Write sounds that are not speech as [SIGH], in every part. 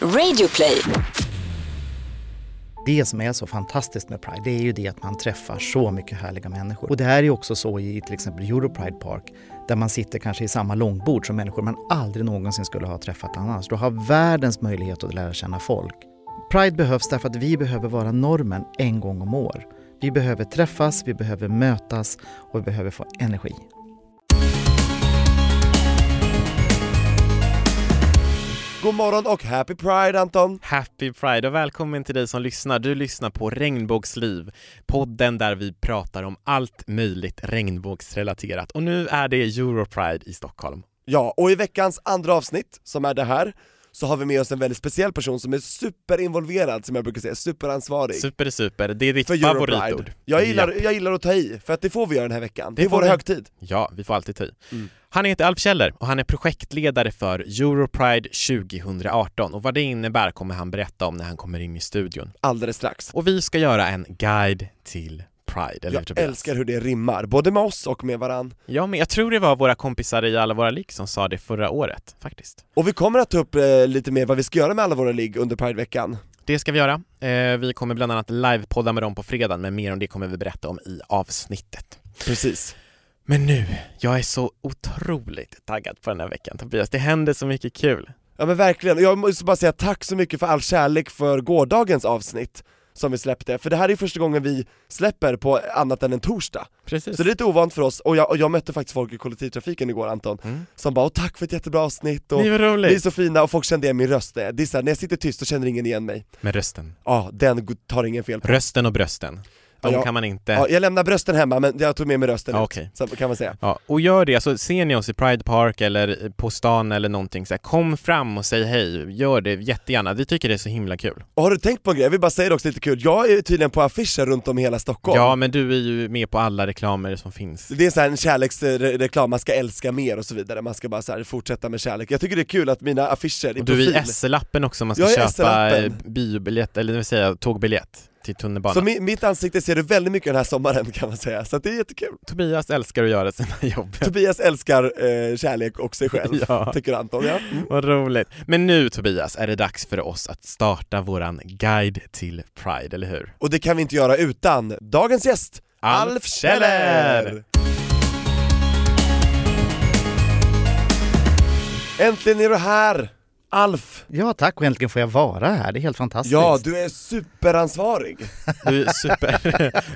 Radioplay. Det som är så fantastiskt med Pride det är ju det att man träffar så mycket härliga människor. Och det här är ju också så i till exempel Europride Park där man sitter kanske i samma långbord som människor man aldrig någonsin skulle ha träffat annars. Du har världens möjlighet att lära känna folk. Pride behövs därför att vi behöver vara normen en gång om år. Vi behöver träffas, vi behöver mötas och vi behöver få energi. God morgon och happy pride Anton! Happy Pride och välkommen till dig som lyssnar. Du lyssnar på Regnbågsliv, podden där vi pratar om allt möjligt regnbågsrelaterat. Och nu är det Europride i Stockholm. Ja, och i veckans andra avsnitt, som är det här, så har vi med oss en väldigt speciell person som är superinvolverad, som jag brukar säga, superansvarig Super, super. Det är ditt för Europride. favoritord. Jag gillar, ja. jag gillar att ta i, för att det får vi göra den här veckan. Det, Det är vår får vi. högtid. ja, vi får alltid ta i. Mm. Han heter Alf Kjeller och han är projektledare för Europride 2018 och vad det innebär kommer han berätta om när han kommer in i studion. Alldeles strax. Och vi ska göra en guide till Pride, eller hur, Jag Tobias? älskar hur det rimmar, både med oss och med varann. Ja, men jag tror det var våra kompisar i alla våra ligg som sa det förra året, faktiskt. Och vi kommer att ta upp eh, lite mer vad vi ska göra med alla våra ligg under prideveckan. Det ska vi göra. Eh, vi kommer bland annat livepodda med dem på fredag, men mer om det kommer vi berätta om i avsnittet. Precis. Men nu, jag är så otroligt taggad på den här veckan Tobias, det händer så mycket kul. Ja men verkligen, Och jag måste bara säga tack så mycket för all kärlek för gårdagens avsnitt som vi släppte, för det här är första gången vi släpper på annat än en torsdag. Precis. Så det är lite ovant för oss, och jag, och jag mötte faktiskt folk i kollektivtrafiken igår Anton, Mm. som bara "Åh, 'tack för ett jättebra avsnitt' och Nej, vad ni är roligt! så fina och folk kände igen min röst, det är så här, när jag sitter tyst så känner ingen igen mig. Med rösten. Ja, den go- tar ingen fel på. Rösten och brösten. Ja, De jag- kan man inte... Ja, jag lämnar brösten hemma men jag tog med mig rösten Eh. Ja, ut, okej. så kan man säga. Ja, och gör det, alltså ser ni oss i Pride Park eller på stan eller någonting så här, kom fram och säg hej, gör det jättegärna, vi tycker det är så himla kul. Och har du tänkt på en grej? Jag vill bara säga det också lite kul, jag är tydligen på affischer runt om i hela Stockholm. Ja, men du är ju med på alla reklamer som finns. Det är så här en kärleksreklam, man ska älska mer och så vidare, man ska bara så här fortsätta med kärlek. Jag tycker det är kul att mina affischer i Och du är i profil, SL-appen också, man Jag är ska i köpa SL-appen. eh, biobiljett, eller det vill säga tågbiljett till tunnelbanan. så mi- mitt ansikte ser du väldigt mycket den här sommaren kan man säga, så att det är jättekul. Tobias älskar att göra sina [LAUGHS] jobb. Tobias älskar eh, kärlek och sig själv, [LAUGHS] Ja. tycker Anton ja. Mm. Vad roligt. Men nu Tobias är det dags för oss att starta våran guide till Pride, eller hur? Och det kan vi inte göra utan dagens gäst, Alf Alf Scheller! Scheller! Äntligen är du här! Alf! Ja tack och äntligen får jag vara här, det är helt fantastiskt. Ja, du är superansvarig! Du [LAUGHS] är super...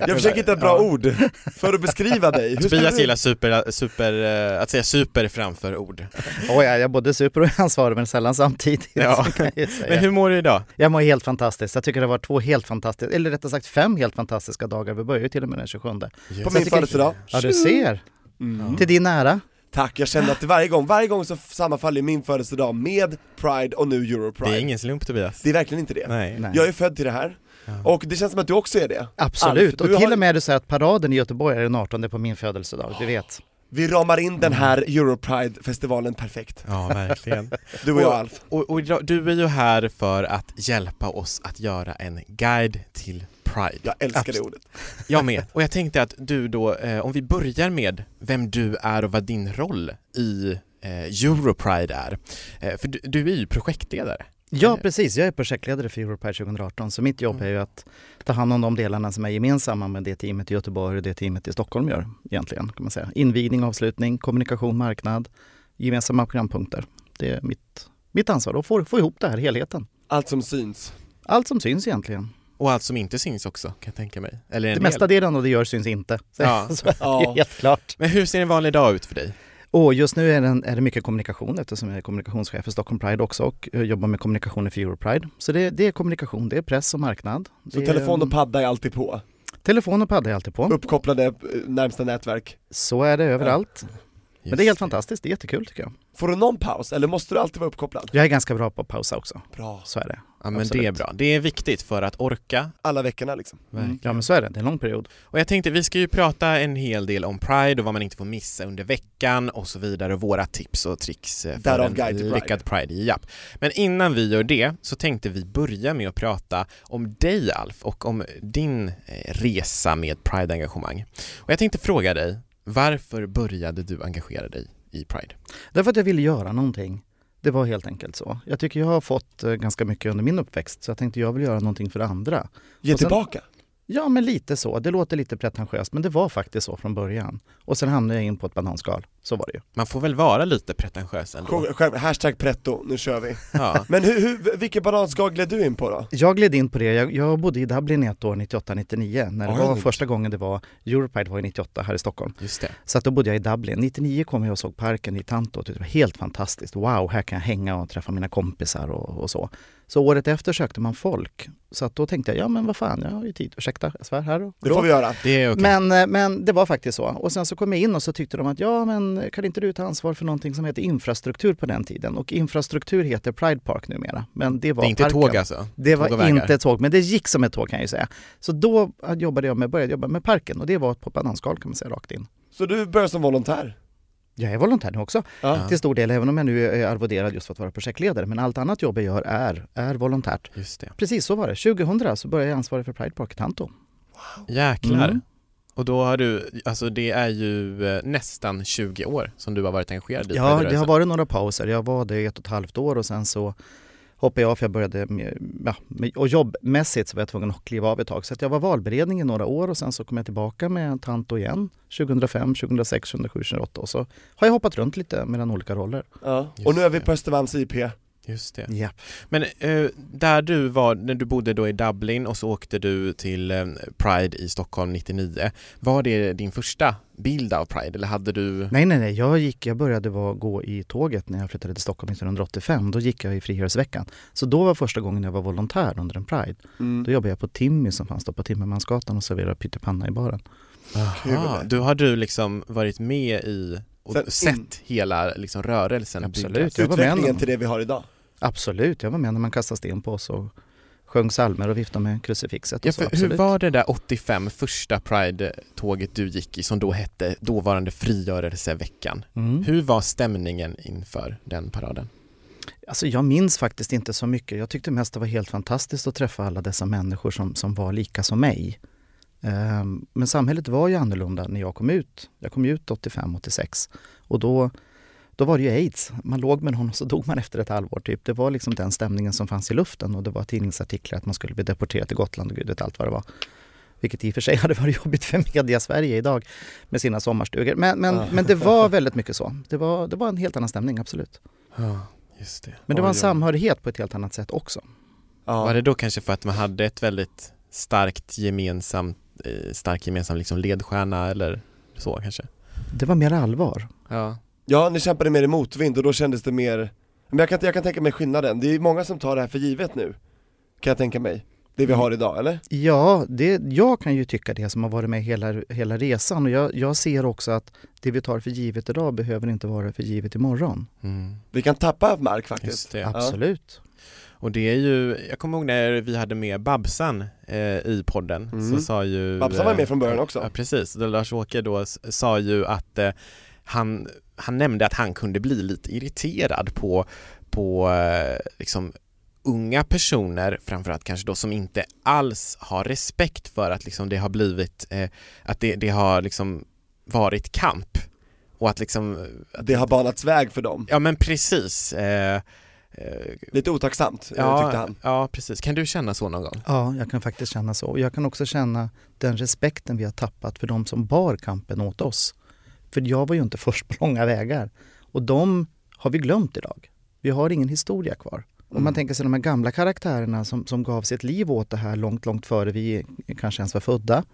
Jag försöker hitta ett bra Ja. ord för att beskriva dig. Hur skulle Tobias du- gillar super, super, eh, att säga super framför ord. Oj, jag är både super och ansvarig men sällan samtidigt. Ja. [LAUGHS] kan jag, ju säga. Men hur mår du idag? jag mår helt fantastiskt. Jag tycker det har varit två helt fantastiska, eller rättare sagt fem helt fantastiska dagar. Vi börjar ju till och med den 27. På Så jag min tycker- födelsedag. Mm. Ja, du ser. Till din ära. Tack, jag kände att varje gång, varje gång så f- sammanfaller min födelsedag med Pride och nu Europride. Det är ingen slump Tobias. Det är verkligen inte det. Nej. Nej. Jag är född till det här, och det känns som att du också är det. Alf, Absolut. du och till har- och med är det så här att paraden i Göteborg är den 18 på min födelsedag, du vet. Vi ramar in den här Europride-festivalen perfekt. Ja, verkligen. Du och jag Alf. Och, och idag- du är ju här för att hjälpa oss att göra en guide till Pride. Jag älskar det Abs- ordet. Jag med. Och jag tänkte att du då, eh, om vi börjar med vem du är och vad din roll i eh, Europride är. Eh, för du, du är ju projektledare. Ja, Mm. Eller- precis. Jag är projektledare för Europride 2018, så mitt jobb Mm. är ju att ta hand om de delarna som är gemensamma med det teamet i Göteborg och det teamet i Stockholm gör egentligen, kan man säga. Invigning, avslutning, kommunikation, marknad, gemensamma programpunkter. Det är mitt, mitt ansvar att få, få ihop det här, helheten. Allt [LAUGHS] som syns. Allt som syns egentligen. Och allt som inte syns också, kan jag tänka mig. Eller en Det del. mesta delen av det gör syns inte. Så, Ja. [LAUGHS] så är det Ja. helt klart. Men hur ser en vanlig dag ut för dig? Och just nu är, den, är det mycket kommunikation eftersom jag är kommunikationschef för Stockholm Pride också och eh, jobbar med kommunikationen för Europride. Så det, det är kommunikation, det är press och marknad. Så det är, telefon och padda är alltid på. Telefon och padda är alltid på. Uppkopplade eh, närmsta nätverk. Så är det överallt. Men det är Just helt fantastiskt, det är jättekul tycker jag. Får du någon paus, eller måste du alltid vara uppkopplad? Jag är ganska bra på att pausa också, Bra. så är det. Ja men Absolut. Mm. det är bra. Det är viktigt för att orka. Alla veckorna liksom. Verkligen. Ja men så är det, det är en lång period. Och jag tänkte, vi ska ju prata en hel del om Pride och vad man inte får missa under veckan och så vidare och våra tips och tricks eh, för Därav en Guide to Pride. lyckad Pride. Japp. Men innan vi gör det så tänkte vi börja med att prata om dig Alf och om din eh, resa med Pride-engagemang. Och jag tänkte fråga dig, varför började du engagera dig i Pride? Därför att jag ville göra någonting Det var helt enkelt så. Jag tycker jag har fått eh, ganska mycket under min uppväxt så jag tänkte jag vill göra någonting för andra. Ge Och sen- tillbaka! Ja, men lite så. Det låter lite pretentiöst, men det var faktiskt så från början. Och sen hamnade jag in på ett bananskal. Så var det ju. Man får väl vara lite pretentiös ändå. Själv- Själv, hashtag pretto, nu kör vi. Ja. Men hur, hur, vilken bananskal gled du in på då? Jag gled in på det. Jag, jag bodde i Dublin i ett år, 98-99, när det Oj. var första gången det var Europride var i 98 här i Stockholm. Just det. Så att då bodde jag i Dublin. 99 kom jag och såg parken i Tanto och tyckte det var helt fantastiskt. Wow, här kan jag hänga och träffa mina kompisar och, och så. Så året efter sökte man folk. Så att då tänkte jag, ja men vad fan, jag har ju tid. Ursäkta, jag svär här och Det får vi göra. Det är okej. Men, eh, men det var faktiskt så. Och sen så kom jag in och så tyckte de att ja, men kan inte du ta ansvar för någonting som heter infrastruktur på den tiden? Och infrastruktur heter Pride Park numera. Men det var Det är inte parken. tåg alltså? Det Tåg och var vägar. inte ett tåg, men det gick som ett tåg kan jag ju säga. Så då eh, jobbade jag med, började jobba med parken och det var på bananskal kan man säga rakt in. Så du började som volontär? Jag är volontär nu också Ja. till stor del, även om jag nu är arvoderad just för att vara projektledare. Men allt annat jobb jag gör är, är volontärt. Just det. Precis så var det. 2000 så började jag ansvarig för Pride Park i Tanto. Jäklar. Mm. Och då har du, alltså det är ju eh, nästan 20 år som du har varit engagerad i Ja, det har Pride-rörelsen. varit några pauser. Jag var det i ett och ett halvt år och sen så hoppade jag av för jag började med, ja, med, och jobbmässigt så var jag tvungen att kliva av ett tag. Så att jag var valberedning i några år och sen så kom jag tillbaka med Tanto igen 2005, 2006, 2007, 2008 och så har jag hoppat runt lite mellan olika roller. Ja. Just Och nu är vi det. på Östermalms IP. Just det. Ja. Men eh, där du var, när du bodde då i Dublin och så åkte du till eh, Pride i Stockholm 99, var det din första bild av Pride eller hade du Nej, nej, nej. Jag, gick, jag började var, gå i tåget när jag flyttade till Stockholm 1985. Då gick jag i Frigörelseveckan. Så då var första gången jag var volontär under en Pride. Mm. Då jobbade jag på Timmy som fanns då på Timmermansgatan och serverade pyttipanna i baren. Aha, Kul. du har du liksom varit med i och Sen- sett in. hela liksom rörelsen Absolut. byggas. Jag var med Utvecklingen om- till det vi har idag. Absolut, jag var med när man kastade sten på oss och sjöng psalmer och viftade med krucifixet. Ja, Och så, för hur absolut. var det där 85 första Pride-tåget du gick i som då hette dåvarande frigörelseveckan? Mm. Hur var stämningen inför den paraden? Alltså jag minns faktiskt inte så mycket. Jag tyckte mest det var helt fantastiskt att träffa alla dessa människor som, som var lika som mig. Ehm, Men samhället var ju annorlunda när jag kom ut. Jag kom ju ut 85-86 och då, då var det ju aids. Man låg med någon och så dog man efter ett halvår. Typ. Det var liksom den stämningen som fanns i luften och det var tidningsartiklar att man skulle bli deporterad till Gotland och gud vet allt vad det var. Vilket i och för sig hade varit [LAUGHS] jobbigt för media Sverige idag med sina sommarstugor. Men, men, Ja. men det var väldigt mycket så. Det var, det var en helt annan stämning, absolut. Ja, just det. Men det var en Oj, oj. samhörighet på ett helt annat sätt också. Ja. Var det då kanske för att man hade ett väldigt starkt gemensamt, eh, stark gemensam liksom ledstjärna eller så kanske? Det var mer allvar. Ja. Ja, ni kämpade mer i motvind och då kändes det mer, men jag kan, jag kan tänka mig skillnaden, det är många som tar det här för givet nu, kan jag tänka mig, det vi har idag, eller? Ja, det, jag kan ju tycka det som har varit med hela, hela resan och jag, jag ser också att det vi tar för givet idag behöver inte vara för givet imorgon. Mm, Vi kan tappa mark faktiskt. just det. Absolut. Och det är ju, jag kommer ihåg när vi hade med Babsan eh, i podden Mm. så sa ju Babsan var med från början eh, också. Ja precis, Då Lars-Åke då s- sa ju att eh, han, han nämnde att han kunde bli lite irriterad på, på eh, liksom unga personer framförallt kanske då som inte alls har respekt för att liksom det har blivit, eh, att det, det har liksom varit kamp och att liksom, att, Det har banats väg för dem, ja men precis eh, eh, lite otacksamt, eh, tyckte han. ja, precis. Kan du känna så någon gång? Ja, jag kan faktiskt känna så. Och jag kan också känna den respekten vi har tappat för de som bar kampen åt oss. För jag var ju inte [LAUGHS] först på långa vägar. Och de har vi glömt idag. Vi har ingen historia kvar. Om man tänker sig de här gamla karaktärerna som, som gav sitt liv åt det här långt, långt före vi kanske ens var födda.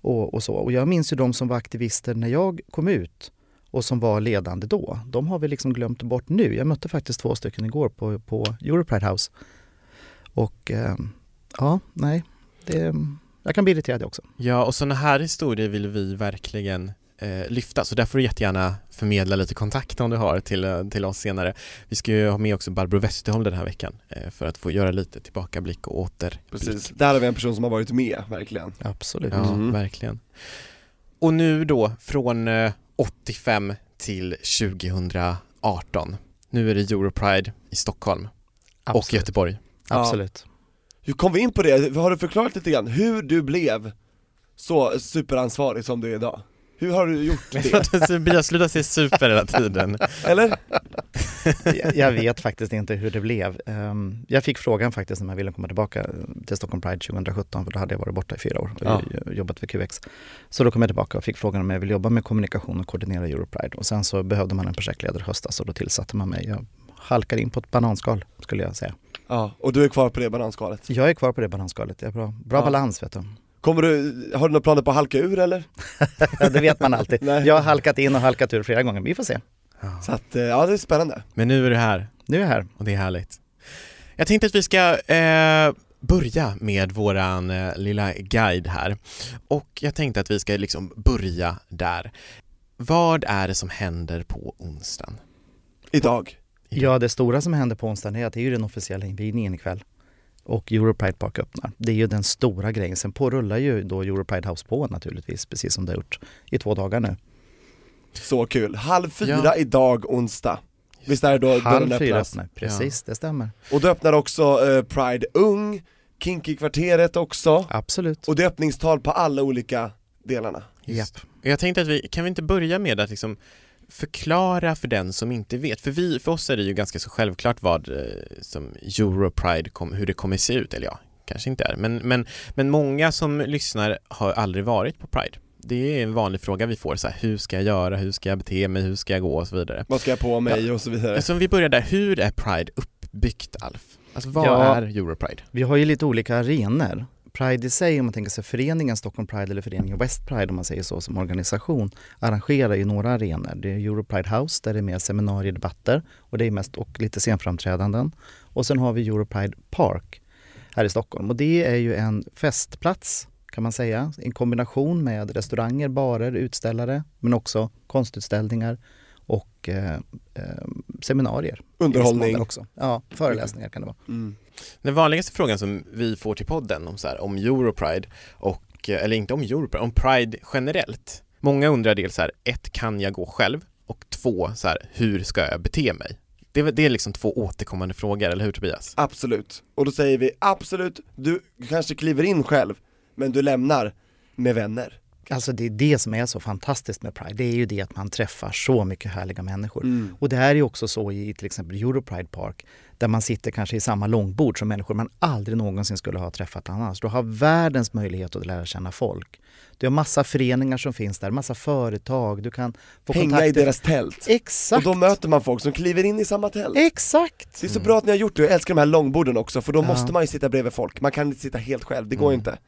Och, och, så. och jag minns ju de som var aktivister när jag kom ut och som var ledande då. De har vi liksom glömt bort nu. Jag mötte faktiskt två stycken igår på, på Europride House. Och ehm, ja, nej, det, jag kan bli irriterad också. Ja, och sådana här historier vill vi verkligen eh, lyfta, så där får du jättegärna förmedla lite kontakt om du har till, eh, till oss senare. Vi ska ju ha med också Barbro Westerholm den här veckan eh, för att få göra lite tillbakablick och återblick. Precis, där har vi en person som har varit med, verkligen. Absolut. Ja, Mm. verkligen. Och nu då från eh, 85 till 2018. Nu är det Europride i Stockholm Absolut. och Göteborg. [LAUGHS] Absolut. Hur kom vi in på det? Har du förklarat lite grann hur du blev så superansvarig som du är idag? Hur har du gjort det? Jag slutar säga super hela tiden. Eller? jag, jag vet faktiskt inte hur det blev. Ehm, Jag fick frågan faktiskt när jag ville komma tillbaka till Stockholm Pride 2017, för då hade jag varit borta i fyra år och Ja. j- jobbat för QX. Så då kom jag tillbaka och fick frågan om jag ville jobba med kommunikation och koordinera Europride. Och sen så behövde man en projektledare i höstas och då tillsatte man mig. Jag halkar in på ett bananskal skulle jag säga. Ja, och du är kvar på det bananskalet. Jag är kvar på det bananskalet, jag är bra, bra Ja. balans vet du. Kommer du, har du några planer på att halka ur eller? Ja, det vet man alltid. Nej. Jag har halkat in och halkat ur flera gånger, vi får se. Ja. Så att, eh, ja det är spännande. Men nu är du här Nu är jag här. och det är härligt. Jag tänkte att vi ska eh, börja med våran eh, lilla guide här. Och jag tänkte att vi ska liksom börja där. Vad är det som händer på onsdagen? Idag. Ja, det stora som händer på onsdagen är att det är ju den officiella invigningen ikväll. Och Europride Park öppnar. Det är ju den stora grejen. Sen pårullar ju då Europride House på naturligtvis, precis som det har gjort i två dagar nu. Så kul. Halv fyra Ja. idag onsdag. Visst är det då Halv dörren fyra öppnas? öppnar, precis det stämmer. Och då öppnar också eh, Pride Ung, Kinky-kvarteret också. Absolut. Och det är öppningstal på alla olika delarna. Just. Jag tänkte att vi, kan vi inte börja med att liksom förklara för den som inte vet? För, vi, för oss är det ju ganska så självklart vad eh, som Europride, kom, hur det kommer se ut, eller ja, kanske inte är, men, men, men många som lyssnar har aldrig varit på Pride. Det är en vanlig fråga vi får, så här, hur ska jag göra, hur ska jag bete mig, hur ska jag gå och så vidare. Vad ska jag på mig och så vidare. Alltså om vi börjar där, hur är Pride uppbyggt Alf? Alltså vad Ja. är Europride? Vi har ju lite olika arenor. Pride i sig, om man tänker sig föreningen Stockholm Pride eller föreningen West Pride om man säger så som organisation, arrangerar ju några arenor. Det är Europride House där det är mer seminarier, debatter och det är mest och lite scenframträdanden. Och sen har vi Europride Park här i Stockholm och det är ju en festplats kan man säga, i kombination med restauranger, barer, utställare men också konstutställningar och eh, eh, seminarier. I viss Underhållning. mån också. Ja, föreläsningar kan det vara. Mm. Den vanligaste frågan som vi får till podden om, så här, om Europride och, eller inte om Europride, om Pride generellt. Många undrar dels så här, ett, kan jag gå själv? Och två, så här, hur ska jag bete mig? Det, är väl- det är liksom två återkommande frågor, eller hur Tobias? Absolut. Och då säger vi absolut, du kanske kliver in själv, men du lämnar med vänner. Alltså det är det som är så fantastiskt med Pride. Det är ju det att man träffar så mycket härliga människor. Mm. Och det här är ju också så i till exempel Europride Park där man sitter kanske i samma långbord som människor man aldrig någonsin skulle ha träffat annars. Du har världens möjlighet att lära känna folk. Du har massa föreningar som finns där, massa företag, du kan få Hänga kontakter. i deras tält. Och Exakt! då möter man folk som kliver in i samma tält. Exakt! Det är så bra att ni har gjort det, jag älskar de här långborden också, för då Ja. måste man ju sitta bredvid folk, man kan inte sitta helt själv, det går Mm. inte.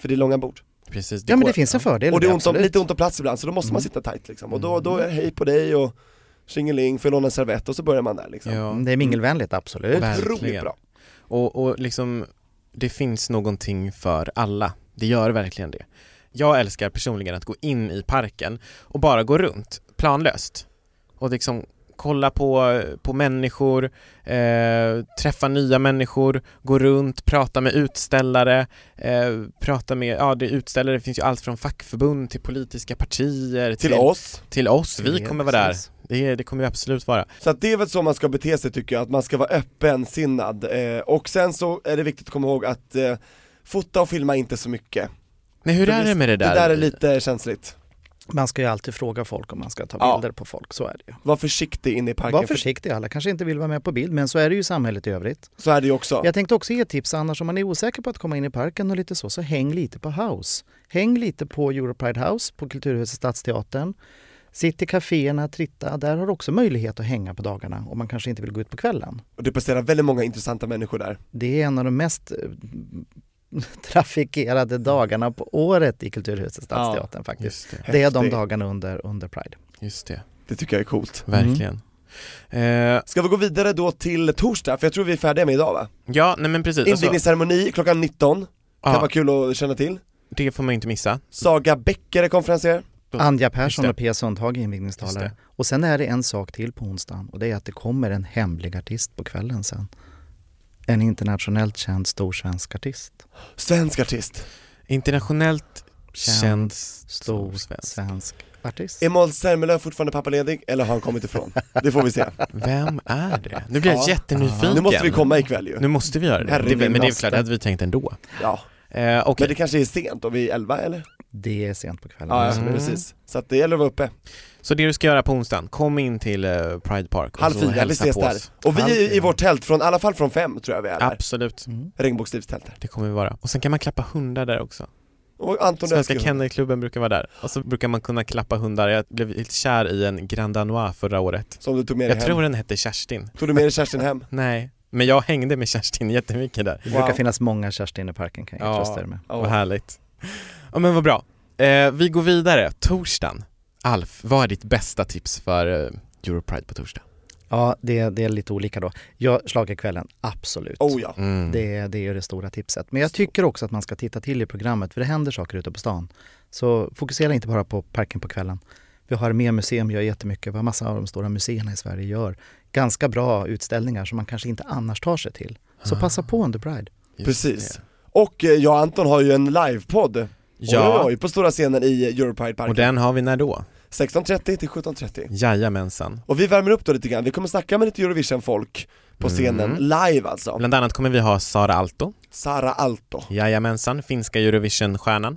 För det är långa bord. Precis, ja men går- det finns en fördel Och det är ont om, absolut. lite ont om plats ibland, så då måste man Mm. sitta tight liksom. Och då, då är det hej på dig och tjingeling, får jag låna en servett? Och så börjar man där liksom. Ja. Det är mingelvänligt, absolut. Verkligen. Otroligt bra. Och, och liksom, det finns någonting för alla. Det gör verkligen det. Jag älskar personligen att gå in i parken och bara gå runt, planlöst. Och liksom kolla på, på människor, eh, träffa nya människor, gå runt, prata med utställare, eh, prata med, ja det är utställare, det finns ju allt från fackförbund till politiska partier, Till oss. till oss. vi kommer vara där. Precis. Det, det kommer vi absolut vara. Så att det är väl så man ska bete sig tycker jag, att man ska vara öppensinnad. Eh, och sen så är det viktigt att komma ihåg att eh, fota och filma inte så mycket. Nej hur För är det med det där? Det där är lite känsligt. Man ska ju alltid fråga folk om man ska ta Ja. bilder på folk, så är det ju. Var försiktig inne i parken, Var försiktig, alla kanske inte vill vara med på bild, men så är det ju i samhället i övrigt. för så är det ju också. Jag tänkte också ge ett tips annars om man är osäker på att komma in i parken och lite så, så häng lite på House. Häng lite på Europride House, på Kulturhuset Stadsteatern. Sitt i kaféerna, tritta. Där har du också möjlighet att hänga på dagarna om man kanske inte vill gå ut på kvällen. Och det passerar väldigt många intressanta människor där. Det är en av de mest eh, [LAUGHS] trafikerade dagarna på året i Kulturhuset Stadsteatern faktiskt. Just det, Det är de Häftigt. dagarna under, under Pride. just det. Det tycker jag är coolt. Verkligen. Eh, Ska vi gå vidare då till torsdag? För jag tror vi är färdiga med idag va? ja, nej men precis. Alltså, Invigningsceremoni klockan 19, kan ja, vara kul att känna till. det får man ju inte missa. Saga Bäcker är konferenser. Då- Anja Persson Just och Pia Sundhage är Just invigningstalare. det. Och sen är det en sak till på onsdagen och det är att det kommer en hemlig artist på kvällen sen. En internationellt känd stor svensk artist. Svensk artist. Internationellt Känd, känd Stor stor svensk, svensk. artist. Är Måns Zelmerlöw fortfarande pappaledig eller har han kommit ifrån? Det får vi se. Vem är det? Nu blir jag Ja. jättenyfiken. Nu måste vi komma ikväll ju. Nu måste vi göra det. Herre det min men det är bästa. klart, det hade vi tänkt ändå. Ja. Eh, Okej, Men det kanske är sent, och vi är elva eller? Det är sent på kvällen. Ja, ja Mm. precis. Så att det gäller att vara uppe. Så det du ska göra på onsdagen, kom in till eh, Pride Park och Halv så fyra, vi hälsa ses på där. oss. Och vi Halv är i fyra. vårt tält, från, i alla fall från fem tror jag vi är där. Absolut, Mm. Regnbågslivstältet. det kommer vi vara. Och sen kan man klappa hundar där också. Och Anton Svenska Öskil. Kennelklubben brukar vara där. Och så brukar man kunna klappa hundar. Jag blev helt kär i en Grand Danois förra året. Som du tog med dig Jag hem. tror den hette Kerstin. Tog du med dig Kerstin hem? Nej, men jag hängde med Kerstin jättemycket där. Det Wow. brukar finnas många Kerstin i parken kan jag Ja. trösta er med. Ja. Vad härligt. Ja men vad bra. Eh, vi går vidare, torsdagen. Alf, vad är ditt bästa tips för eh, Europride på torsdag? Ja, det, det är lite olika då. Jag schlagerkvällen, absolut. Oh ja. Mm. Det, är- det är ju det stora tipset. Men jag tycker också att man ska titta till i programmet för det händer saker ute på stan. Så fokusera inte bara på parken på kvällen. Vi har mer museum, gör jättemycket. Vad massa av de stora museerna i Sverige gör. Ganska bra utställningar som man kanske inte annars tar sig till. Så passa på under Pride. Just Precis. det. Och eh, jag och Anton har ju en livepodd, ja. Ja, oj, oj, på stora scenen i Europride-parken. och den har vi när då? 16.30 till 17.30. Jajamensan. Och vi värmer upp då lite grann, vi kommer snacka med lite Eurovision-folk på scenen, Mm. live alltså. Bland annat kommer vi ha Sara Alto, Sara Alto. jajamensan, finska Eurovision-stjärnan.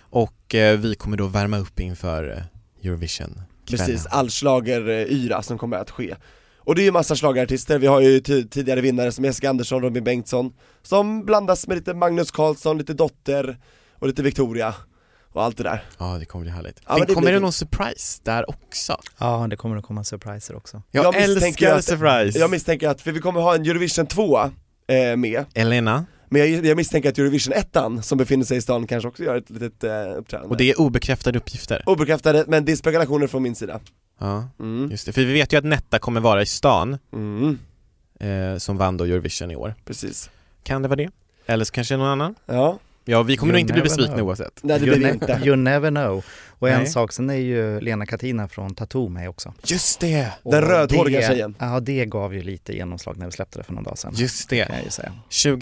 Och eh, vi kommer då värma upp inför eh, Eurovision. Precis, allschlager-yra som kommer att ske. Och det är ju massa schlagerartister, vi har ju ti- tidigare vinnare som Jessica Andersson, Robin Bengtsson, som blandas med lite Magnus Carlsson, lite Dotter och lite Victoria och allt det där. Ja, det kommer bli härligt. men Fin- det kommer blir- det någon surprise där också? Ja, det kommer att komma surpriser också. Jag, Jag misstänker älskar att- surprise! Jag misstänker att, för vi kommer ha en Eurovision 2 eh, med, Elena, men jag, jag misstänker att Eurovision 1 som befinner sig i stan kanske också gör ett litet eh, uppträdande. och det är obekräftade uppgifter. Obekräftade, men det är spekulationer från min sida. Ja, Mm. just det. För vi vet ju att Netta kommer vara i stan, Mm. eh, som vann då Eurovision i år. Precis. Kan det vara det? Eller så kanske någon annan? Ja, Ja, vi kommer You nog inte bli never besvikna know. oavsett. nej det you, blir vi ne- inte. you never know. Och en Nej. sak, sen är ju Lena Katina från Tattoo med också. Just det! Och Den rödhåriga det- tjejen. Ja, det gav ju lite genomslag när vi släppte det för någon dag sedan. Just det. Kan jag ju säga.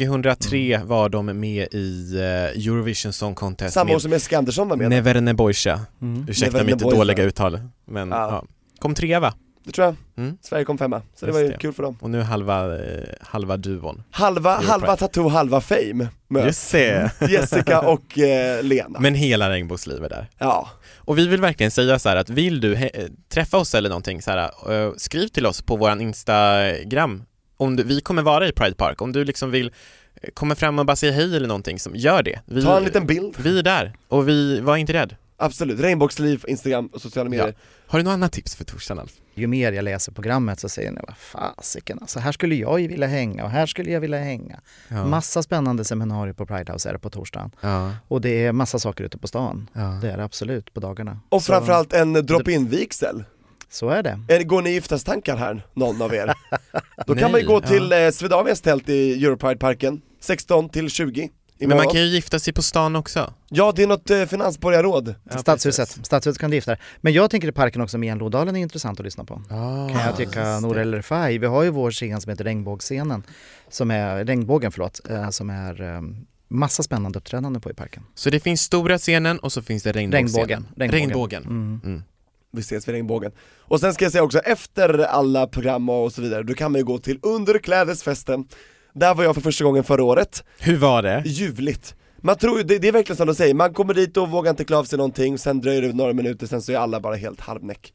2003 var de med i eh, Eurovision Song Contest Samma år med som Jessica Andersson var med. Neverne Boysha. Mm. Ursäkta mitt Neverne Boysa. dåliga uttal, men Ja. ja. Kom trea va? Det tror jag. Mm. Sverige kom femma, så det Just var ju det. kul för dem. Och nu halva, eh, halva duon. Halva, Europride. halva Tattoo, halva Fame möts. Just det! [LAUGHS] Jessica och eh, Lena. Men hela regnbågslivet där. Ja, Och vi vill verkligen säga så här att vill du he- träffa oss eller någonting så här, eh, skriv till oss på våran Instagram. Om du, vi kommer vara i Pride Park, om du liksom vill eh, komma fram och bara säga hej eller någonting, som, gör det. Vi, ta en liten bild. vi är där och vi, var inte rädd. Absolut, Regnbågsliv, Instagram och sociala medier. Har du några andra tips för torsdagen Alf? Ju mer jag läser programmet så säger jag, vad fasiken alltså, här skulle jag ju vilja hänga och här skulle jag vilja hänga. Ja. Massa spännande seminarier på Pride House är det på torsdagen. ja. Och det är massa saker ute på stan. ja. Det är det absolut på dagarna. Och Så- framförallt en drop-in vigsel. Så är det. Eh, Går ni i giftastankar här, någon av [LAUGHS] er? Då kan Nej, man ju gå ja. till eh, Swedavias tält i Europride-parken, 16 till 20 Men man imorgon. kan ju gifta sig på stan också. Ja, det är något eh, finansborgarråd. Ja, precis. Stadshuset, Stadshuset kan du gifta dig. Men jag tänker i parken också, Mian Lodalen är intressant att lyssna på. Ah, Kan jag tycka, just det. Norel Refai. Vi har ju vår scen som heter Regnbågsscenen, som är, Regnbågen förlåt, eh, som är eh, massa spännande uppträdande på i parken. Så det finns stora scenen och så finns det regnbågsscenen. Regnbågen. Regnbågen. Mm. Mm. Vi ses vid regnbågen. Och sen ska jag säga också, efter alla program och så vidare, då kan man ju gå till underklädesfesten. Där var jag för första gången förra året, Hur var det? ljuvligt. Man tror ju, det, det är verkligen som de säger, man kommer dit och vågar inte klä av sig någonting, sen dröjer det några minuter, sen så är alla bara helt halvnäck.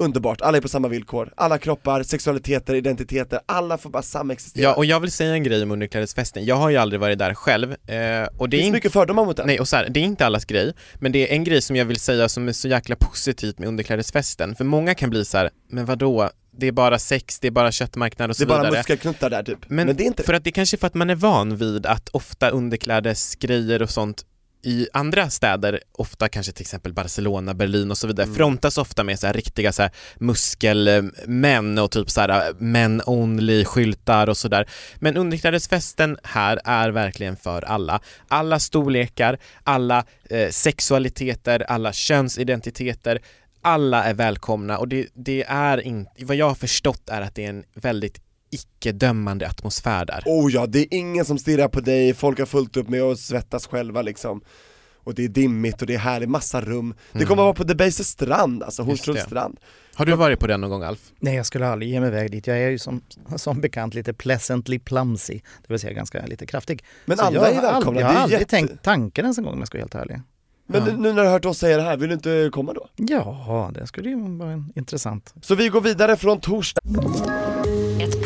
Underbart, alla är på samma villkor, alla kroppar, sexualiteter, identiteter, alla får bara samexistera. Ja, och jag vill säga en grej om underklädesfesten. Jag har ju aldrig varit där själv. Eh, och det, det är finns inte- mycket fördomar mot det. Nej, och så här, det är inte allas grej, men det är en grej som jag vill säga som är så jäkla positivt med underklädesfesten, för många kan bli så här, men vadå, det är bara sex, det är bara köttmarknad och det så är bara vidare. muskelknuttar där typ. Men, Men, det är inte För att det är kanske är för att man är van vid att ofta underklädesgrejer och sånt i andra städer, ofta kanske till exempel Barcelona, Berlin och så vidare, Mm. frontas ofta med så här riktiga så här muskelmän och typ så här men only skyltar och sådär. Men underklädesfesten här är verkligen för alla. Alla storlekar, alla eh, sexualiteter, alla könsidentiteter, alla är välkomna och det, det är inte, vad jag har förstått är att det är en väldigt icke-dömande atmosfär där. Oh ja, det är ingen som stirrar på dig, folk har fullt upp med att svettas själva liksom Och det är dimmigt och det är härligt, massa rum Det kommer vara på Debaser strand alltså, Mm. Just Hornstulls det. strand Har du varit på den någon gång Alf? Nej, jag skulle aldrig ge mig iväg dit. Jag är ju som, som bekant lite pleasantly plumsy, det vill säga ganska lite kraftig. Men Så alla jag är har aldrig- välkomna, det Jag har är aldrig jätte... tänkt tanken ens en gång om jag ska vara helt ärlig. Men Ja. nu när du har hört oss säga det här, vill du inte komma då? Ja, det skulle ju vara en intressant. Så vi går vidare från torsdag Ett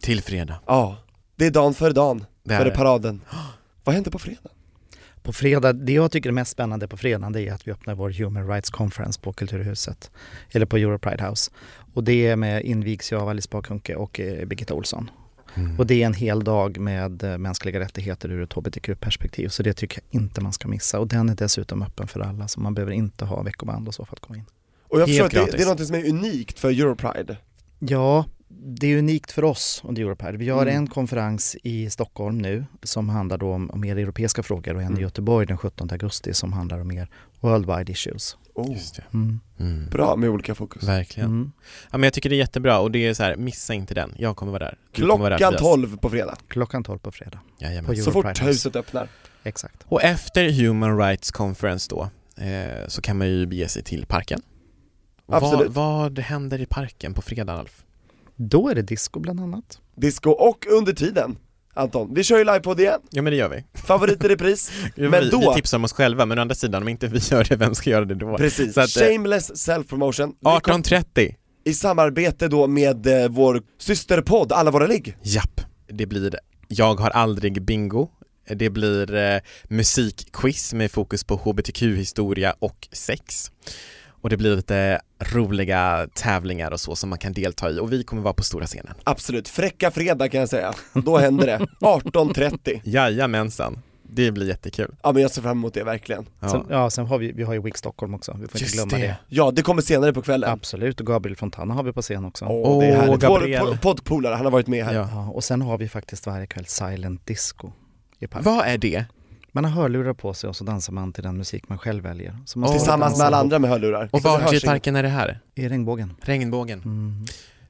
Till fredag. Ja, det är dagen före dagen, Det är före det. paraden Vad händer på fredag? På fredag, det jag tycker är mest spännande på fredagen det är att vi öppnar vår Human Rights Conference på Kulturhuset, eller på Europride House. Och det är med invigs jag av Alice Bakunke och eh, Birgitta Olsson. Och det är en hel dag med eh, mänskliga rättigheter ur ett hbtq-perspektiv, så det tycker jag inte man ska missa. Och den är dessutom öppen för alla, så man behöver inte ha veckoband och så för att komma in. Och jag Helt förstår att det, gratis. det är något som är unikt för Europride Ja, det är unikt för oss under Europride. Vi Mm. har en konferens i Stockholm nu som handlar då om, om mer europeiska frågor och en Mm. i Göteborg den 17 augusti som handlar om mer worldwide issues. oh, Just det. Mm. Mm. Bra med olika fokus Verkligen. Mm. Ja, men jag tycker det är jättebra och det är så här, missa inte den. Jag kommer vara där. Du kommer vara där, Klockan Tobias. 12 på fredag, Klockan 12 på fredag. Jajamän. På så fort Europride House. huset öppnar Exakt. Och efter Human Rights Conference då, eh, så kan man ju bege sig till parken. Och Absolut. Vad, vad händer i parken på fredag, Alf? Då är det disco bland annat. Disco och under tiden Anton, vi kör ju livepodd igen, Ja men det gör vi. favorit i [LAUGHS] repris Men vi, då- vi tipsar om oss själva, men å andra sidan, om inte vi gör det, vem ska göra det då? Precis, Så att, eh, shameless self-promotion Vi kom- 18.30. I samarbete då med eh, vår systerpodd Alla våra ligg Japp, det blir Jag har aldrig bingo. Det blir eh, musikquiz med fokus på hbtq-historia och sex. Och det blir lite roliga tävlingar och så som man kan delta i och vi kommer vara på stora scenen. Absolut, fräcka fredag kan jag säga, då händer det [LAUGHS] 18.30 Jajamensan, det blir jättekul. Ja men jag ser fram emot det verkligen Ja. Sen, ja, sen har vi, vi har ju Week Stockholm också. Vi får Just inte glömma det. det. Ja, det kommer senare på kvällen Absolut, och Gabriel Fontana har vi på scen också. Åh, det är Åh, härligt. Gabriel. Vår po- poddpolare, han har varit med här Ja. Ja, och sen har vi faktiskt varje kväll silent disco i parken. Vad är det? Man har hörlurar på sig och så dansar man till den musik man själv väljer. Så man Åh, står och Tillsammans dansar med alla ihop andra med hörlurar alltså. Och Så hörs var i inget. parken är det här? I regnbågen. Regnbågen. Mm.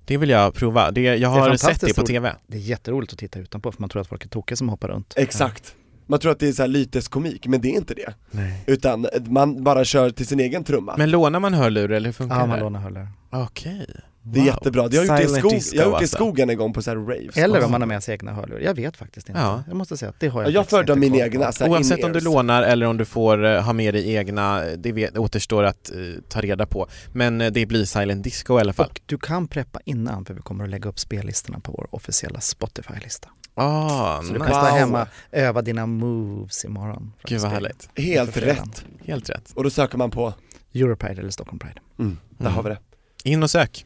Det vill jag prova. Det, jag har sett fantastiskt det på roligt. TV. Det är jätteroligt att titta utanpå för man tror att folk är tokiga som hoppar runt. Exakt Man tror att det är så här lyteskomik, men det är inte det Nej. Utan man bara kör till sin egen trumma Men lånar man hörlurar eller hur funkar Ja, man det? lånar hörlurar. Okej. Det är jättebra, jag har gjort det i, Silent skog, disco, jag har gjort det i alltså. skogen en gång på så här raves Alltså. Eller om man har med sig egna hörlurar. Jag vet faktiskt inte. Ja. Jag måste säga att det har Ja, jag Jag faktiskt föredrar inte mina koll på. egna, så här Oavsett om du in-ears. lånar eller om du får eh, ha med dig egna, eh, det vet, återstår att eh, ta reda på. Men eh, det blir silent disco i alla fall. Och du kan preppa innan för vi kommer att lägga upp spellistorna på vår officiella Spotify-lista. Ah, Så du nice. kan stå Wow. hemma öva dina moves imorgon. framför Gud vad spegeln. härligt. Helt För fredagen. rätt, Helt rätt. och då söker man på, Europride eller Stockholm Pride. mm, där Mm. har vi det In och sök.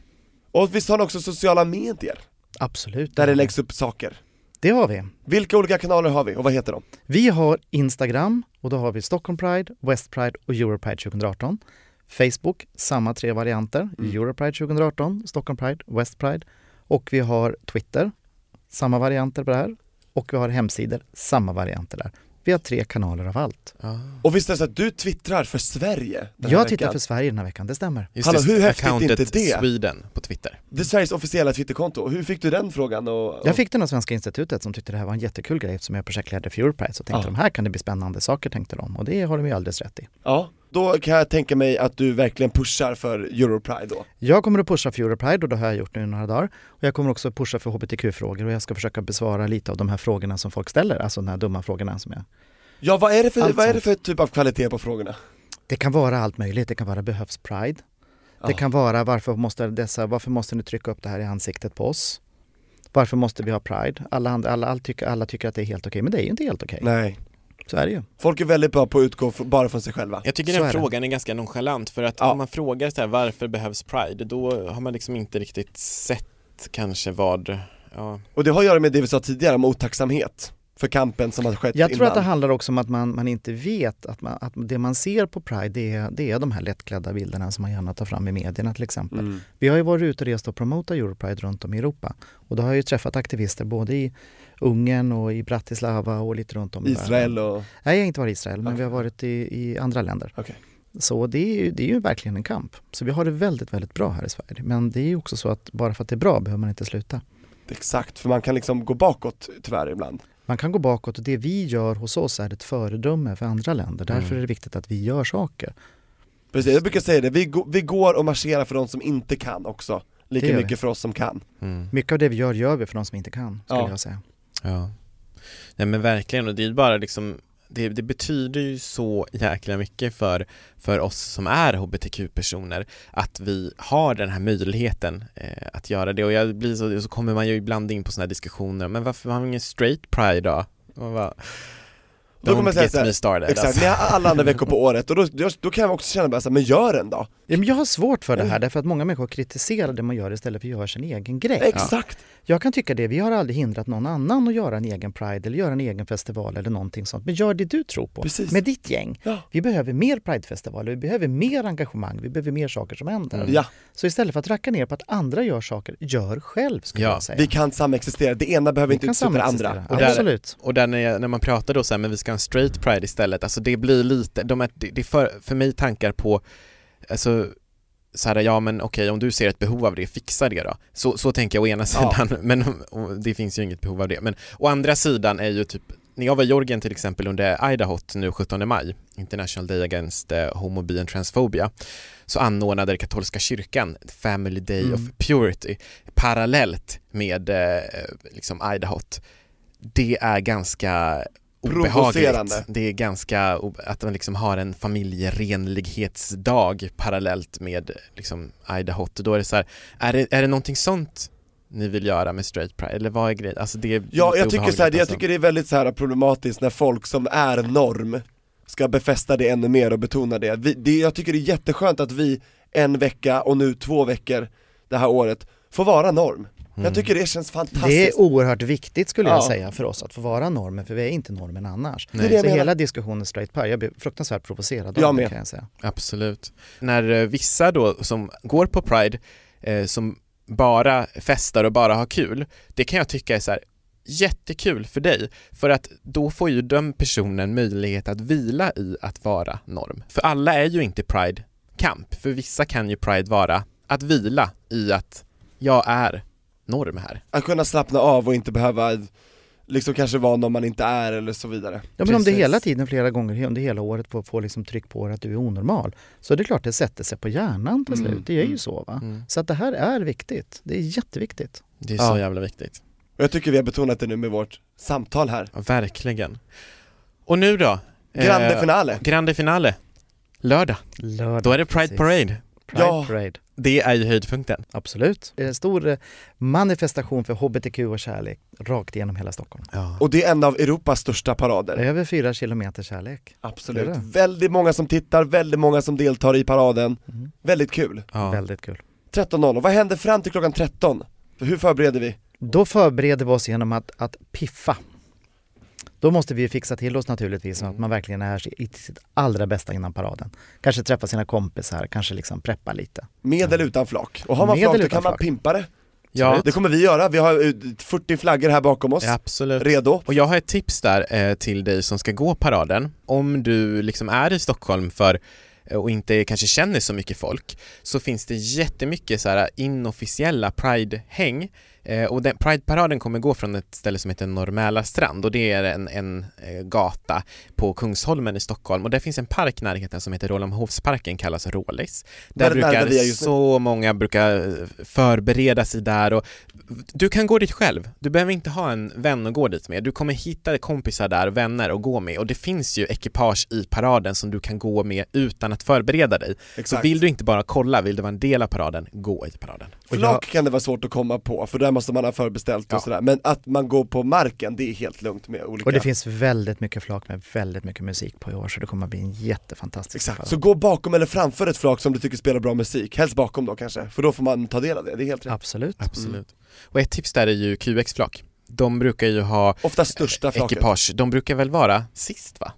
Och visst har ni också sociala medier, Absolut. Mm. där det läggs upp saker? Det har vi. Vilka olika kanaler har vi och vad heter de? Vi har Instagram och då har vi Stockholm Pride, West Pride och Europride 2018. Facebook, samma tre varianter, Mm. Europride 2018, Stockholm Pride, West Pride. Och vi har Twitter, samma varianter på det här. Och vi har hemsidor, samma varianter där. Vi har tre kanaler av allt. Och visst är det så att du twittrar för Sverige den här Jag tittar veckan? för Sverige den här veckan, det stämmer. Just Hallå, det, hur häftigt är accountet inte det? Sweden på Twitter. Det är Sveriges officiella twitterkonto, hur fick du den frågan? Och, och... Jag fick den av Svenska institutet som tyckte det här var en jättekul grej eftersom jag är projektledare för Europride. Så tänkte Ja. de här kan det bli spännande saker tänkte de och det har de ju alldeles rätt i. Ja, då kan jag tänka mig att du verkligen pushar för Europride då. Jag kommer att pusha för Europride och det har jag gjort nu i några dagar. Och jag kommer också att pusha för hbtq-frågor och jag ska försöka besvara lite av de här frågorna som folk ställer, alltså de här dumma frågorna som jag... Ja, vad är det för, Allt vad är det sånt. för typ av kvalitet på frågorna? Det kan vara allt möjligt, det kan vara behövs pride, Ja. det kan vara varför måste, dessa, varför måste ni trycka upp det här i ansiktet på oss? Varför måste vi ha pride? Alla, andra, alla, alla, tycker, alla tycker att det är helt okej, men det är ju inte helt okej. Nej. Så är det ju. Folk är väldigt bra på att utgå f- bara från sig själva. Jag tycker Så den är det. frågan är ganska nonchalant för att Ja. om man frågar så här, varför behövs Pride, då har man liksom inte riktigt sett kanske vad, ja, Och det har att göra med det vi sa tidigare om otacksamhet för kampen som har skett Jag tror innan. att det handlar också om att man, man inte vet att, man, att det man ser på Pride det är, det är de här lättklädda bilderna som man gärna tar fram i medierna till exempel. Vi har ju varit ute och rest och promotat Europride runt om i Europa och då har jag ju träffat aktivister både i Ungern och i Bratislava och lite runt om i världen. Israel och, Nej, jag har inte varit i Israel men vi har varit i, i andra länder. okej. Så det är, ju, det är ju verkligen en kamp. Så vi har det väldigt, väldigt bra här i Sverige. Men det är ju också så att bara för att det är bra behöver man inte sluta. Exakt, för man kan liksom gå bakåt tyvärr ibland. Man kan gå bakåt och det vi gör hos oss är ett föredöme för andra länder. Därför Mm. är det viktigt att vi gör saker. Precis, jag brukar säga det, vi, gå- vi går och marscherar för de som inte kan också. Det Lika gör vi. mycket för oss som kan. Mycket av det vi gör, gör vi för de som inte kan, skulle Mm. Ja. jag säga. Ja. Nej men verkligen, och det är ju bara liksom det, det betyder ju så jäkla mycket för, för oss som är hbtq-personer att vi har den här möjligheten eh, att göra det och jag blir så, så kommer man ju ibland in på sådana här diskussioner, men varför har vi ingen straight pride då? Man bara, Då kommer jag säga Don't get så här, me started Exakt, ni alltså. har alla andra veckor på året och då, då, då kan jag också känna bara så här, men gör en då! Ja, men Jag har svårt för det här därför att många människor kritiserar det man gör istället för att göra sin egen grej. Exakt! Jag kan tycka det, vi har aldrig hindrat någon annan att göra en egen Pride eller göra en egen festival eller någonting sånt. Men gör det du tror på Precis. med ditt gäng. Ja. Vi behöver mer Pridefestivaler, vi behöver mer engagemang, vi behöver mer saker som händer. Mm. Ja. Så istället för att racka ner på att andra gör saker, gör själv skulle Ja, jag säga. Vi kan samexistera, det ena behöver Vi inte kan utesluta det samexistera. andra. Och där, Absolut. Och där när, jag, när man pratar då så här, men vi ska ha en straight pride istället, alltså det blir lite, de är, det, det är för, för mig tankar på, alltså så här, ja men okej om du ser ett behov av det, fixa det då. Så, så tänker jag å ena Ja. sidan, [LAUGHS] men och det finns ju inget behov av det. Men å andra sidan är ju typ, när jag var i Georgien till exempel under Idaho nu 17 maj, International Day Against eh, Homo, Bi and Transphobia, så anordnade den katolska kyrkan Family Day of Mm. Purity parallellt med eh, liksom Idaho. Det är ganska Provocerande. obehagligt. Det är ganska, o- att man liksom har en familjerenlighetsdag parallellt med liksom Idaho. Då är det så här, är det, är det någonting sånt ni vill göra med straight pride? Eller vad är grejen? Alltså det är Ja, lite jag tycker, så här, obehagligt jag alltså. tycker det är väldigt så här problematiskt när folk som är norm ska befästa det ännu mer och betona det. Vi, det. Jag tycker det är jätteskönt att vi en vecka och nu två veckor det här året får vara norm. Mm. Jag tycker det känns fantastiskt. Det är oerhört viktigt skulle Ja. jag säga för oss att få vara normen, för vi är inte normen annars. Det är det jag Så menar. hela diskussionen straight par, jag blir fruktansvärt provocerad Jag av det med. kan jag säga. Absolut. När eh, vissa då som går på Pride, eh, som bara festar och bara har kul, det kan jag tycka är så här jättekul för dig, för att då får ju den personen möjlighet att vila i att vara norm. För alla är ju inte Pride-kamp, för vissa kan ju Pride vara att vila i att jag är norm här. Att kunna slappna av och inte behöva liksom kanske vara någon man inte är eller så vidare. Ja, men om du Precis. hela tiden, flera gånger under hela året får, får liksom tryck på dig att du är onormal, så är det klart det sätter sig på hjärnan till slut. Mm. Det är ju så. Va? Så att det här är viktigt. Det är jätteviktigt. Det är så jävla viktigt. Och jag tycker vi har betonat det nu med vårt samtal här. Ja, verkligen. Och nu då? eh, Eh, Grande finale. Grande finale. Lördag. Lördag. Då är det Pride Parade. Pride Ja. Parade. Det är ju höjdpunkten. Absolut. En stor eh, manifestation för hbtq och kärlek rakt igenom hela Stockholm. Och det är en av Europas största parader. Över fyra kilometer kärlek. Absolut. Eh, Det är det. Väldigt många som tittar, väldigt många som deltar i paraden. Mm. Väldigt kul. Ja. Väldigt kul. 13.00, vad händer fram till klockan 13? Hur förbereder vi? Då förbereder vi oss genom att, att piffa. Då måste vi ju fixa till oss naturligtvis Mm. så att man verkligen är i sitt allra bästa innan paraden. Kanske träffa sina kompisar, kanske liksom preppa lite. Med eller utan flak? Och har man Med flak eller då utan kan man flak? pimpa det. Ja. Det kommer vi göra, vi har eh, 40 flaggor här bakom oss. Ja, absolut. Redo? Och jag har ett tips där eh, till dig som ska gå paraden. Om du liksom är i Stockholm för eh, och inte kanske känner så mycket folk så finns det jättemycket så här inofficiella Pride-häng eh, och den, Pride-paraden kommer gå från ett ställe som heter Norrmäla strand och det är en, en eh, gata på Kungsholmen i Stockholm och där finns en park i närheten som heter Rålambshovsparken, kallas Rålis. Där Där- där- där brukar vi är just nu. så många brukar eh, förbereda sig där och du kan gå dit själv, du behöver inte ha en vän att gå dit med. Du kommer hitta kompisar där, vänner att gå med och det finns ju ekipage i paraden som du kan gå med utan att förbereda dig. Så Exakt. Mm. vill du inte bara kolla, vill du vara en del av paraden, gå i paraden. Flak kan det vara svårt att komma på, för där måste man ha förbeställt och Ja. sådär. Men att man går på marken, det är helt lugnt med olika... Och det finns väldigt mycket flak med väldigt mycket musik på i år så det kommer att bli en jättefantastisk Exakt, parad. så gå bakom eller framför ett flak som du tycker spelar bra musik, helst bakom då kanske, för då får man ta del av det, det är helt rätt. Absolut. Absolut. Och ett tips där är ju QX-flak. De brukar ju ha Ofta största flaket. ekipage, de brukar väl vara sist va?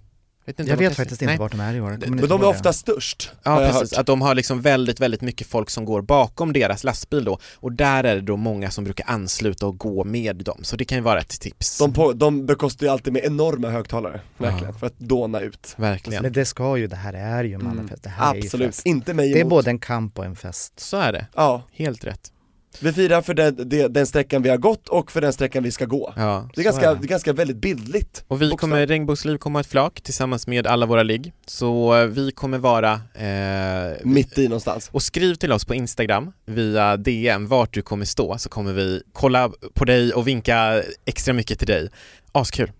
Vet inte Jag vad vet det- faktiskt nej. inte vart de är i år. Jag kommer Men inte de är ihåg det. ofta störst, har Ja jag precis, hört. att de har liksom väldigt, väldigt mycket folk som går bakom deras lastbil då och där är det då många som brukar ansluta och gå med dem, så det kan ju vara ett tips. De, på, de bekostar ju alltid med enorma högtalare, verkligen, för att dåna ut. Verkligen. Men det ska ju, det här är ju mannafest. Det här är ju Absolut, fest. inte mig Det är emot. både en kamp och en fest. Så är det, Ja, helt rätt. vi firar för den, den, den sträckan vi har gått och för den sträckan vi ska gå. Ja. Det så är, ganska, är det. det är ganska väldigt bildligt. Och vi Bokstav. kommer, Regnbågsliv kommer ha ett flak tillsammans med alla våra ligg, så eh, vi kommer vara eh, Mitt i någonstans. Och skriv till oss på Instagram via DM vart du kommer stå så kommer vi kolla på dig och vinka extra mycket till dig. Askul.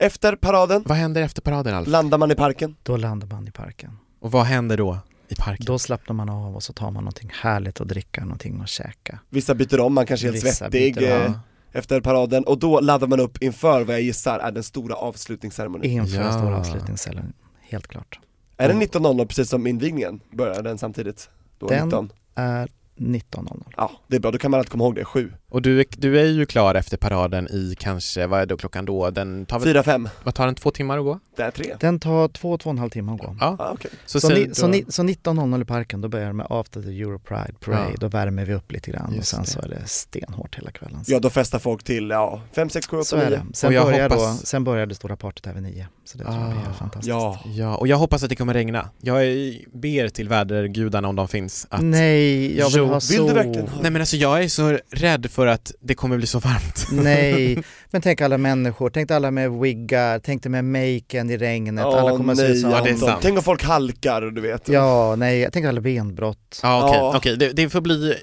Efter paraden Vad händer efter paraden Alf? landar man i parken. Då landar man i parken. Och vad händer då i parken? Då slappnar man av och så tar man någonting härligt att dricka, någonting att käka. Vissa byter om, man kanske är helt Vissa svettig byter om. eh, efter paraden och då laddar man upp inför vad jag gissar är den stora avslutningsceremonin. Inför Ja. den stora avslutningsceremonin, helt klart. Är det 19.00 precis som invigningen? Börjar den samtidigt? Då Den- 19? Är 19.00. Ja, det är bra, då kan man alltid komma ihåg det, 7, Och du, är- du är ju klar efter paraden i kanske, vad är då klockan då? Den tar väl, 4, 5, vad tar den, två timmar att gå? det är 3. Den tar två, två och en halv timme att gå. Ja. Ah, okej. Så, Så, säg ni, då- så, ni, så 19.00 i parken, då börjar det med After the Euro Pride Parade, Ja. då värmer vi upp lite grann och Just sen det. så är det stenhårt hela kvällen. Ja, då festar folk till, ja, 5, 6, 7, 8, så är 9. det. Sen Och jag börjar, hoppas- då, sen börjar det stora partyt här vid nio, så det tror jag blir Ah, helt fantastiskt. Ja, Ja, och jag hoppas att det kommer regna. Jag är- ber till vädergudarna om de finns att Nej, jag vill Jo, ha vill sol. vill du verkligen ha Nej men alltså jag är så rädd för att det kommer bli så varmt. [LAUGHS] Nej, men tänk alla människor, tänk dig alla med wiggar, tänk dig med maken i regnet, Åh, alla kommer att se ut nej, som... Ja, det är Anton. sant. Tänk om folk halkar, du vet. Ja, nej, tänk alla benbrott. Ja okej, Ja. okej. Det, det får bli,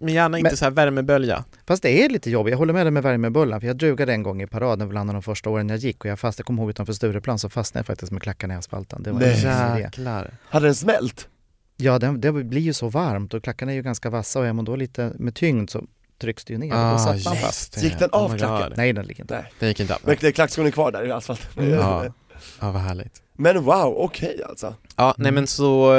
men gärna inte Men- så här värmebölja. Fast det är lite jobbigt, jag håller med dig med värmebullan, för jag drugade en gång i paraden bland de första åren jag gick och jag fastnade, jag kommer ihåg utanför Stureplan så fastnade jag faktiskt med klackarna i asfalten. Det var Nej. en ingen idé. Jäklar. Hade den smält? Ja, det, det blir ju så varmt och klackarna är ju ganska vassa och är man då lite med tyngd så trycks det ju ner och då satt man Ah, just fast. det. Oh Gick den av my klacken? God. Nej, den ligger inte. Nej. Den gick inte av. Men det är klackskon är kvar där i asfalten. Ja. ja, vad härligt. Men wow, okej alltså. Ja, Mm. nej men så...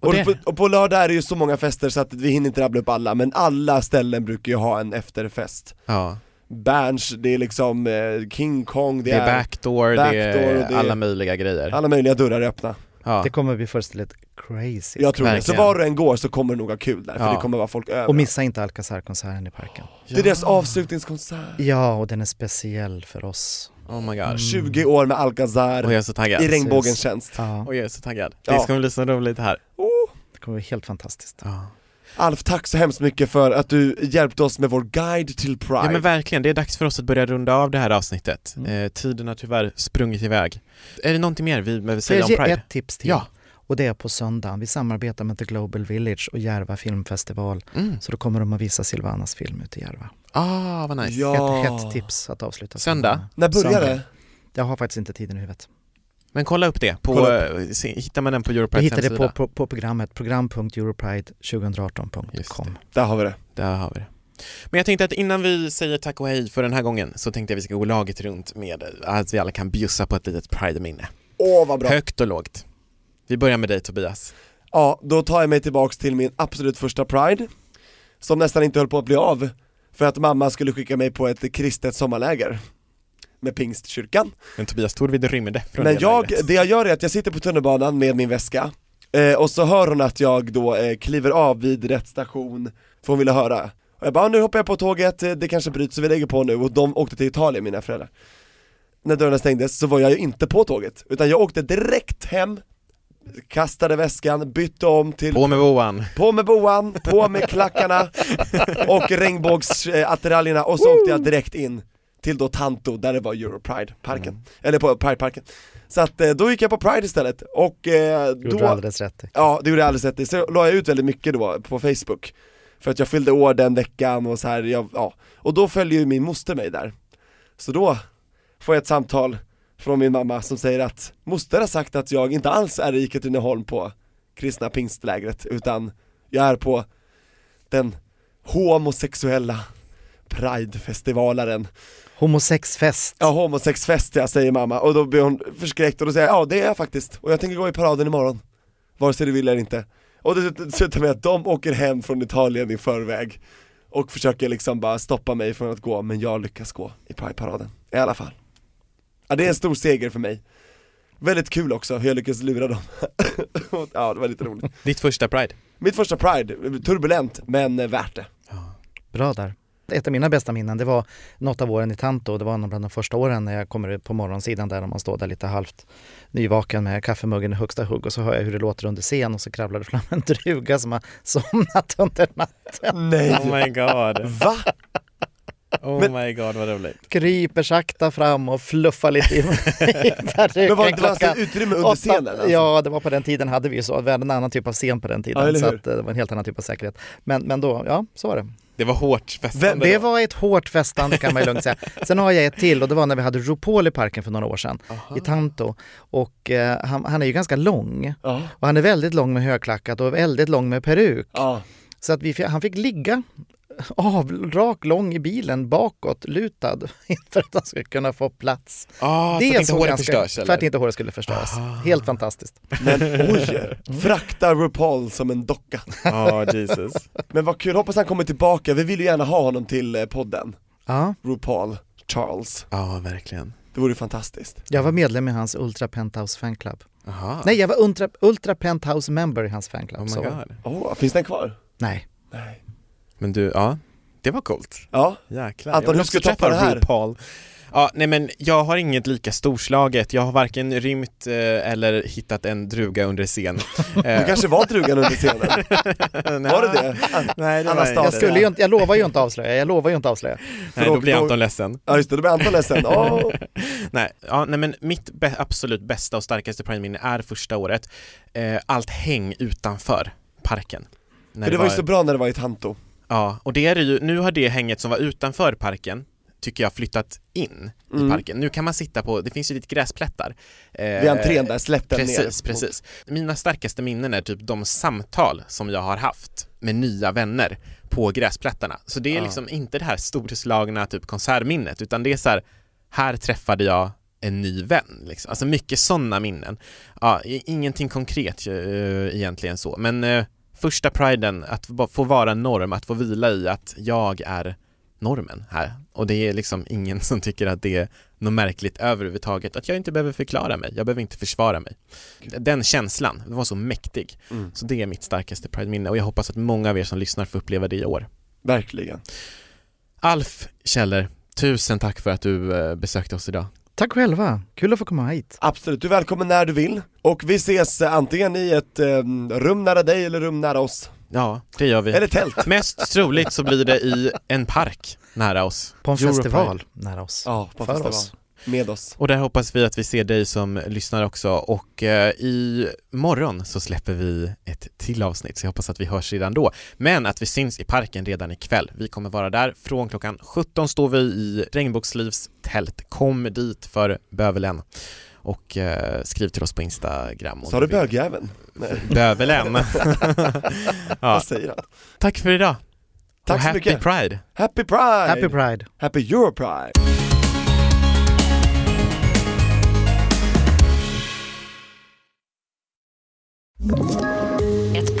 Och Och, det, på, och på lördag är det ju så många fester så att vi hinner inte rabbla upp alla, men alla ställen brukar ju ha en efterfest. ja, Berns, det är liksom eh, King Kong, det, det är är, backdoor, det backdoor är och det är- alla möjliga grejer. alla möjliga dörrar är öppna. Ja. Det kommer bli fullständigt crazy. Jag tror det. Så Verkligen. var du än går så kommer du nog ha kul där, för Ja. det kommer vara folk över. Och missa inte Alcazar-konserten i parken. Det är deras avslutningskonsert. Ja, och den är speciell för oss. Oh my god. 20 år med Alcazar Och jag är så taggad. i regnbågens tjänst. Ja, Och jag är så taggad. Ja. Det ska bli så roligt här. Oh. det kommer bli helt fantastiskt. Ja. Alf, tack så hemskt mycket för att du hjälpte oss med vår guide till Pride. ja men verkligen, det är dags för oss att börja runda av det här avsnittet. Eh, tiden har tyvärr sprungit iväg. Är det någonting mer vi behöver Får säga jag om ge Pride? ett tips till? Ja. Och det är på söndagen. Vi samarbetar med The Global Village och Järva filmfestival. Mm. Så då kommer de att visa Silvanas film ute i Järva. Ah, vad nice. Ja. Ett hett tips att avsluta Söndag? söndagen. När börjar det? Jag har faktiskt inte tiden i huvudet. Men kolla upp det, på, Kolla eh, se- hittar man den på Jag Europrides hittade det hemsida? på, på, på programmet, program.europride2018.com. Där har vi det. Där har vi det. Men jag tänkte att innan vi säger tack och hej för den här gången så tänkte jag att vi ska gå laget runt med eh, att vi alla kan bjussa på ett litet Pride-minne. Åh vad bra! Högt och lågt. Vi börjar med dig Tobias. Ja, då tar jag mig tillbaks till min absolut första Pride, som nästan inte höll på att bli av, för att mamma skulle skicka mig på ett kristet sommarläger med pingstkyrkan. Men Tobias Torvid rymde från Men det jag, lägret. det jag gör är att jag sitter på tunnelbanan med min väska, eh, och så hör hon att jag då eh, kliver av vid rätt station, för hon ville höra. Och jag bara, nu hoppar jag på tåget, eh, det kanske bryts så vi lägger på nu, och de åkte till Italien mina föräldrar. När dörrarna stängdes så var jag ju inte på tåget, utan jag åkte direkt hem, kastade väskan, bytte om till På med boan. på med boan, på med klackarna och regnbågsattiraljerna och så åkte jag direkt in till då Tanto där det var Europride-parken, Mm. eller på Pride-parken. Så att eh, då gick jag på Pride istället och eh, Gjorde du då, alldeles rätt i. ja det gjorde jag alldeles rätt i, så la jag ut väldigt mycket då på Facebook för att jag fyllde år den veckan och så här, jag, ja, och då följer ju min moster mig där. Så då får jag ett samtal från min mamma som säger att moster har sagt att jag inte alls är i Katrineholm på kristna pingstlägret utan jag är på den homosexuella pridefestivalaren. Homosexfest. Ja, homosexfest ja, säger mamma och då blir hon förskräckt och då säger jag ja det är jag faktiskt och jag tänker gå i paraden imorgon, vare sig du vill eller inte. Och det slutar med att de åker hem från Italien i förväg och försöker liksom bara stoppa mig från att gå, men jag lyckas gå i Pride-paraden, i alla fall. Ja, det är en stor seger för mig. Väldigt kul också hur jag lyckades lura dem. [LAUGHS] ja, det var lite roligt. Ditt första Pride? Mitt första Pride, turbulent men eh, värt det. Bra där. Ett av mina bästa minnen det var något av åren i Tanto. Det var nog bland de första åren när jag kommer ut på morgonsidan där och man står där lite halvt nyvaken med kaffemuggen i högsta hugg och så hör jag hur det låter under scen och så kravlar det fram en druga som har somnat under natten. Nej! Oh my god, Va? oh Men- my god vad roligt Kryper sakta fram och fluffar lite i [LAUGHS] Men var det inte alltså utrymme under scenen? Alltså? Ja, det var på den tiden hade vi ju så. Vi hade en annan typ av scen på den tiden. Ja, eller så hur? att, eh, det var en helt annan typ av säkerhet. Men, men då, ja, så var det. Det var hårt Vem, festande det då. var ett hårt festande kan man ju lugnt [LAUGHS] säga. Sen har jag ett till och det var när vi hade RuPaul i parken för några år sedan, i Tanto. Och eh, han, han är ju ganska lång. Ja. Och han är väldigt lång med högklackat och väldigt lång med peruk. Ja. Så att vi, fi- han fick ligga av, rak, lång i bilen bakåt, lutad, [LAUGHS] för att han skulle kunna få plats. Ah, för att inte såg håret ganska- förstörs För att eller? inte håret skulle förstöras. Helt fantastiskt. Men oj! Frakta RuPaul som en docka. Ja, Ah, Jesus Men vad kul, hoppas han kommer tillbaka, vi vill ju gärna ha honom till eh, podden. Ja, RuPaul Charles. Ja, Ah, verkligen Det vore ju fantastiskt. jag var medlem i hans Ultra Penthouse fanclub. Aha. Nej, jag var Ultra, Ultra Penthouse member i hans fanclub. Oh my så. god Åh, finns den kvar? Nej. Nej. Men du, ja, det var coolt Ja, Anton, Jäklar, jag vill hur också ska du toppa träffa det här? RuPaul. Ja, nej men jag har inget lika storslaget, jag har varken rymt eh, eller hittat en druga under scen. det Eh, kanske var drugan under [LAUGHS] scenen. Var det det? An- Nej, det Anna var Stahl. Jag, skulle ju inte, jag lovar ju inte att avslöja, jag lovar ju inte att avslöja. Nej, Förlåt, då blir då- Anton ledsen. Ja just det, då blir Anton ledsen. Åh. Nej, ja, nej men mitt bä- absolut bästa och starkaste Pride-minne är första året, eh, allt häng utanför parken. När För det var ju så bra när det var i Tanto. Ja, och det är det ju, nu har det hänget som var utanför parken, tycker jag, flyttat in Mm. i parken. Nu kan man sitta på, det finns ju lite gräsplättar. Eh, Vid entrén där, släpp den ner. Precis, precis. Mina starkaste minnen är typ de samtal som jag har haft med nya vänner på gräsplättarna. Så det är liksom inte det här storslagna typ konsertminnet, utan det är så här, här träffade jag en ny vän. Liksom. Alltså mycket sådana minnen. Ja, i- ingenting konkret eh, egentligen så, men eh, första priden, att va- få vara norm, att få vila i att jag är normen här. Och det är liksom ingen [LAUGHS] som tycker att det är något märkligt överhuvudtaget, att jag inte behöver förklara mig, jag behöver inte försvara mig. Den känslan, den var så mäktig. Mm. Så det är mitt starkaste Pride-minne och jag hoppas att många av er som lyssnar får uppleva det i år. Verkligen. Alf Kjeller, tusen tack för att du eh, besökte oss idag. Tack själva, kul att få komma hit. Absolut, du är välkommen när du vill. Och vi ses eh, antingen i ett eh, rum nära dig eller rum nära oss. Ja, det gör vi. Eller tält. Mest troligt så blir det i en park nära oss. På en Europride. festival nära oss. Ja, på För festival. oss. Med oss. Och där hoppas vi att vi ser dig som lyssnar också och eh, i morgon så släpper vi ett till avsnitt så jag hoppas att vi hörs redan då. Men att vi syns i parken redan ikväll. Vi kommer vara där från klockan 17 står vi i Regnbågslivs tält. Kom dit för bövelen och eh, skriv till oss på Instagram. om Sa du vill. bögjäveln? Nej, [LAUGHS] Bövelen. [LAUGHS] ja. vad säger han? Tack för idag. Tack och så happy mycket. Pride. Happy Pride! Happy Pride! Happy Euro Pride! Ett